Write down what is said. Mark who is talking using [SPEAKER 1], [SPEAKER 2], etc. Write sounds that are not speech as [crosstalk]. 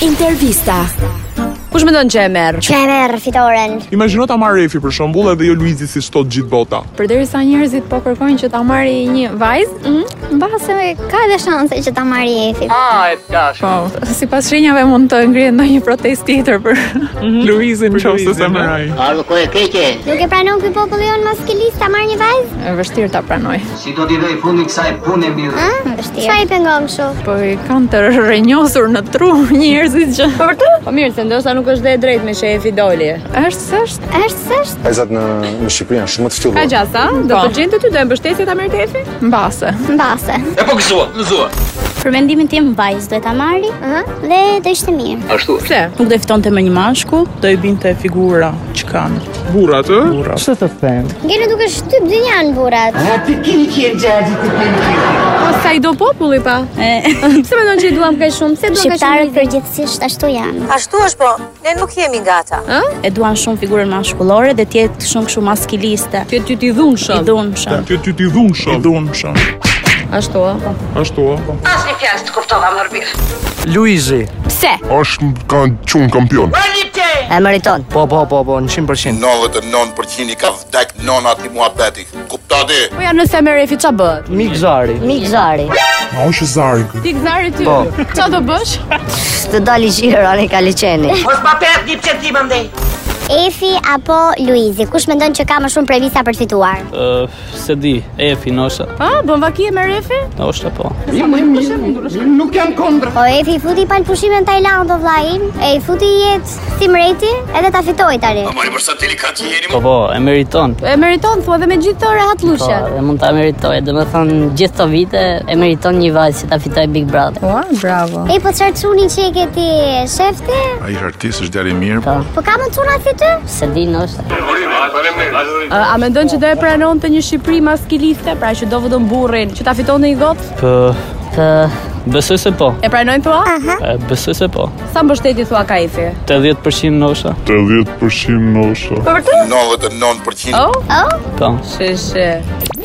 [SPEAKER 1] Intervista.
[SPEAKER 2] Kush mendon që e merr?
[SPEAKER 3] Që e merë fitoren
[SPEAKER 4] Imagjino ta marr Refi për shembull edhe jo Luizi si shtot gjithë bota.
[SPEAKER 5] Përderisa njerëzit po kërkojnë që ta marri një vajzë, mm,
[SPEAKER 3] Mbase ka edhe shanse që ta marri Efi
[SPEAKER 5] po sipas shenjave mund të ngrihet ndonjë protestë tjetër për
[SPEAKER 4] Luizin nëse se merr ai.
[SPEAKER 6] Ardhë kohë e keqe,
[SPEAKER 3] Nuk e pranon ky populli jon mas ke listë ta marr një vajzë?
[SPEAKER 5] e vështirë ta pranoj.
[SPEAKER 6] si do t'i vej fundi kësaj pune mirë.
[SPEAKER 3] Ë? Çfarë i pengon kështu?
[SPEAKER 5] Po i kanë të rrënjosur në tru [laughs] njerëzit që
[SPEAKER 2] Po vërtet? Po mirë, se ndoshta nuk është dhe e drejtë me shefi doli.
[SPEAKER 5] është s'është
[SPEAKER 3] Është s'është?
[SPEAKER 7] Vajzat në në Shqipëri janë shumë të
[SPEAKER 2] Ka
[SPEAKER 7] ftyllur.
[SPEAKER 2] gjasa, do të gjente ty do e mbështesë ta merr tefi?
[SPEAKER 5] mbase.
[SPEAKER 3] Mbase.
[SPEAKER 6] E po gëzua, gëzua.
[SPEAKER 8] Për mendimin tim vajzë duhet ta marri.
[SPEAKER 3] Ëh? Dhe do ishte mirë.
[SPEAKER 6] Ashtu.
[SPEAKER 2] Pse?
[SPEAKER 9] Nuk do e fitonte me një mashkull, do i binte figura që kanë.
[SPEAKER 4] Burrat, ë?
[SPEAKER 3] Ngeli duke shtyp dynjan burrat.
[SPEAKER 2] Po sa i do populli pa?
[SPEAKER 5] [laughs]
[SPEAKER 2] Pse mendon që i duam kaq shumë? Pse duam kaq
[SPEAKER 3] Shqiptarët
[SPEAKER 2] shumë?
[SPEAKER 3] përgjithsisht ashtu janë.
[SPEAKER 10] Ashtu është po, ne nuk jemi gata.
[SPEAKER 8] E duan shumë figurën mashkullore dhe të jetë shumë kështu maskiliste,
[SPEAKER 2] Që ty ti dhun
[SPEAKER 8] i
[SPEAKER 2] shumë.
[SPEAKER 8] dhunshëm.
[SPEAKER 4] Ti ti ti dhun shumë.
[SPEAKER 9] Dhunshëm.
[SPEAKER 2] Ashtu ë.
[SPEAKER 4] Ashtu ë.
[SPEAKER 10] As një fjalë të kuptova më mirë.
[SPEAKER 6] Luizi.
[SPEAKER 2] Pse?
[SPEAKER 7] Është kanë qun kampion.
[SPEAKER 10] E meriton.
[SPEAKER 6] Po, po, po, po, në 100%.
[SPEAKER 7] 99% i ka vdek nonat i muhabeti. Kuptati?
[SPEAKER 2] Po ja nëse merr refi ç'a bëhet?
[SPEAKER 6] Mik Zari.
[SPEAKER 10] Mik zari.
[SPEAKER 4] Ma është zari ky.
[SPEAKER 2] Ti gzari ty.
[SPEAKER 6] Po.
[SPEAKER 2] Ç'a do bësh?
[SPEAKER 10] Të dali gjiro ne ka liçeni.
[SPEAKER 3] Efi apo Luizi, kush mendon që ka më shumë previsa për të fituar?
[SPEAKER 9] se di, e finosha.
[SPEAKER 2] Ha, Po, bën vaki me refi?
[SPEAKER 9] Noshta po.
[SPEAKER 3] Po Efi i futi pal pushimin në Tajland o vllai, e i futi i jetë si mreti, edhe ta fitoi tani.
[SPEAKER 7] Mori për sa delikat jeni.
[SPEAKER 9] Po po, e meriton.
[SPEAKER 2] E meriton thua dhe me gjithë të rehatlushe.
[SPEAKER 8] e Po, mund ta meritoj, domethënë gjithë këto vite e meriton një vajzë që ta fitoj Big Brother.
[SPEAKER 5] Ua, bravo.
[SPEAKER 3] E po çfarë cuni që e ke ti, shefti?
[SPEAKER 7] Ai është artist, është djalë i mirë.
[SPEAKER 3] Po ka më cuna si ty?
[SPEAKER 8] Se di noshta.
[SPEAKER 2] A, a mendon që do e pranonte një Shqipëri maskiliste, pra që do vëdon burrin, që ta fitonte një gotë?
[SPEAKER 9] Po,
[SPEAKER 8] Të
[SPEAKER 9] besoj se po.
[SPEAKER 2] E pranojnë po?
[SPEAKER 9] E, besoj se po.
[SPEAKER 2] Sa mbështetje thua ka Efi?
[SPEAKER 9] 80% nosha.
[SPEAKER 4] 80% nosha.
[SPEAKER 2] Po vërtet?
[SPEAKER 7] 99%
[SPEAKER 2] Oh,
[SPEAKER 3] Oh,
[SPEAKER 9] Po.
[SPEAKER 2] sheshe.